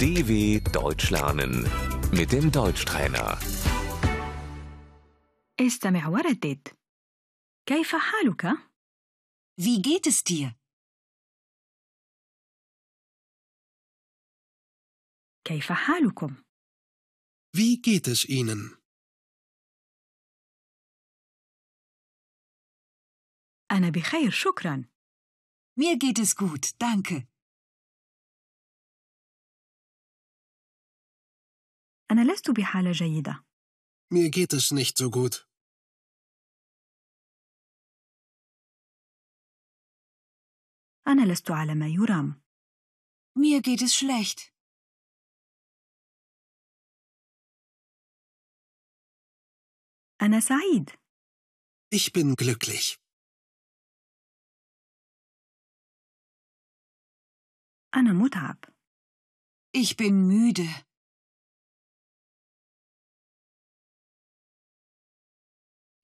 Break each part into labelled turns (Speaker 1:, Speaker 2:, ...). Speaker 1: DW Deutsch lernen mit dem Deutschtrainer.
Speaker 2: استمع وردد كيف حالك؟
Speaker 3: Wie geht es dir?
Speaker 2: كيف حالكم؟
Speaker 4: Wie geht es Ihnen?
Speaker 2: أنا بخير شكرا
Speaker 3: Mir geht es gut, danke.
Speaker 2: أنا لست بحالة جيدة
Speaker 4: Mir geht es nicht so gut.
Speaker 2: أنا لست على ما يرام
Speaker 3: Mir geht es schlecht.
Speaker 2: أنا سعيد
Speaker 4: Ich bin glücklich.
Speaker 2: أنا متعب
Speaker 3: Ich bin müde.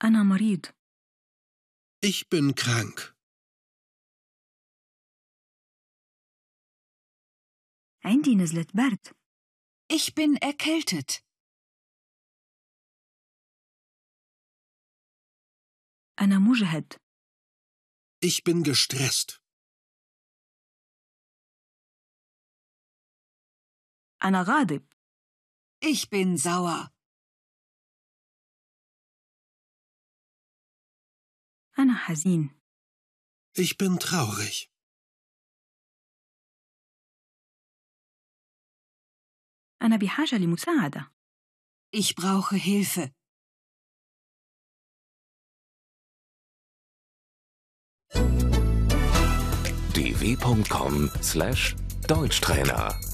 Speaker 2: أنا مريض
Speaker 4: Ich bin krank.
Speaker 2: عندي نزلة برد
Speaker 3: Ich bin erkältet.
Speaker 2: أنا مجهد
Speaker 4: Ich bin gestresst.
Speaker 2: أنا غاضب
Speaker 3: Ich bin sauer.
Speaker 2: أنا حزين
Speaker 4: Ich bin traurig.
Speaker 2: أنا بحاجة لمساعدة
Speaker 3: Ich brauche Hilfe.
Speaker 1: dw.com/deutschtrainer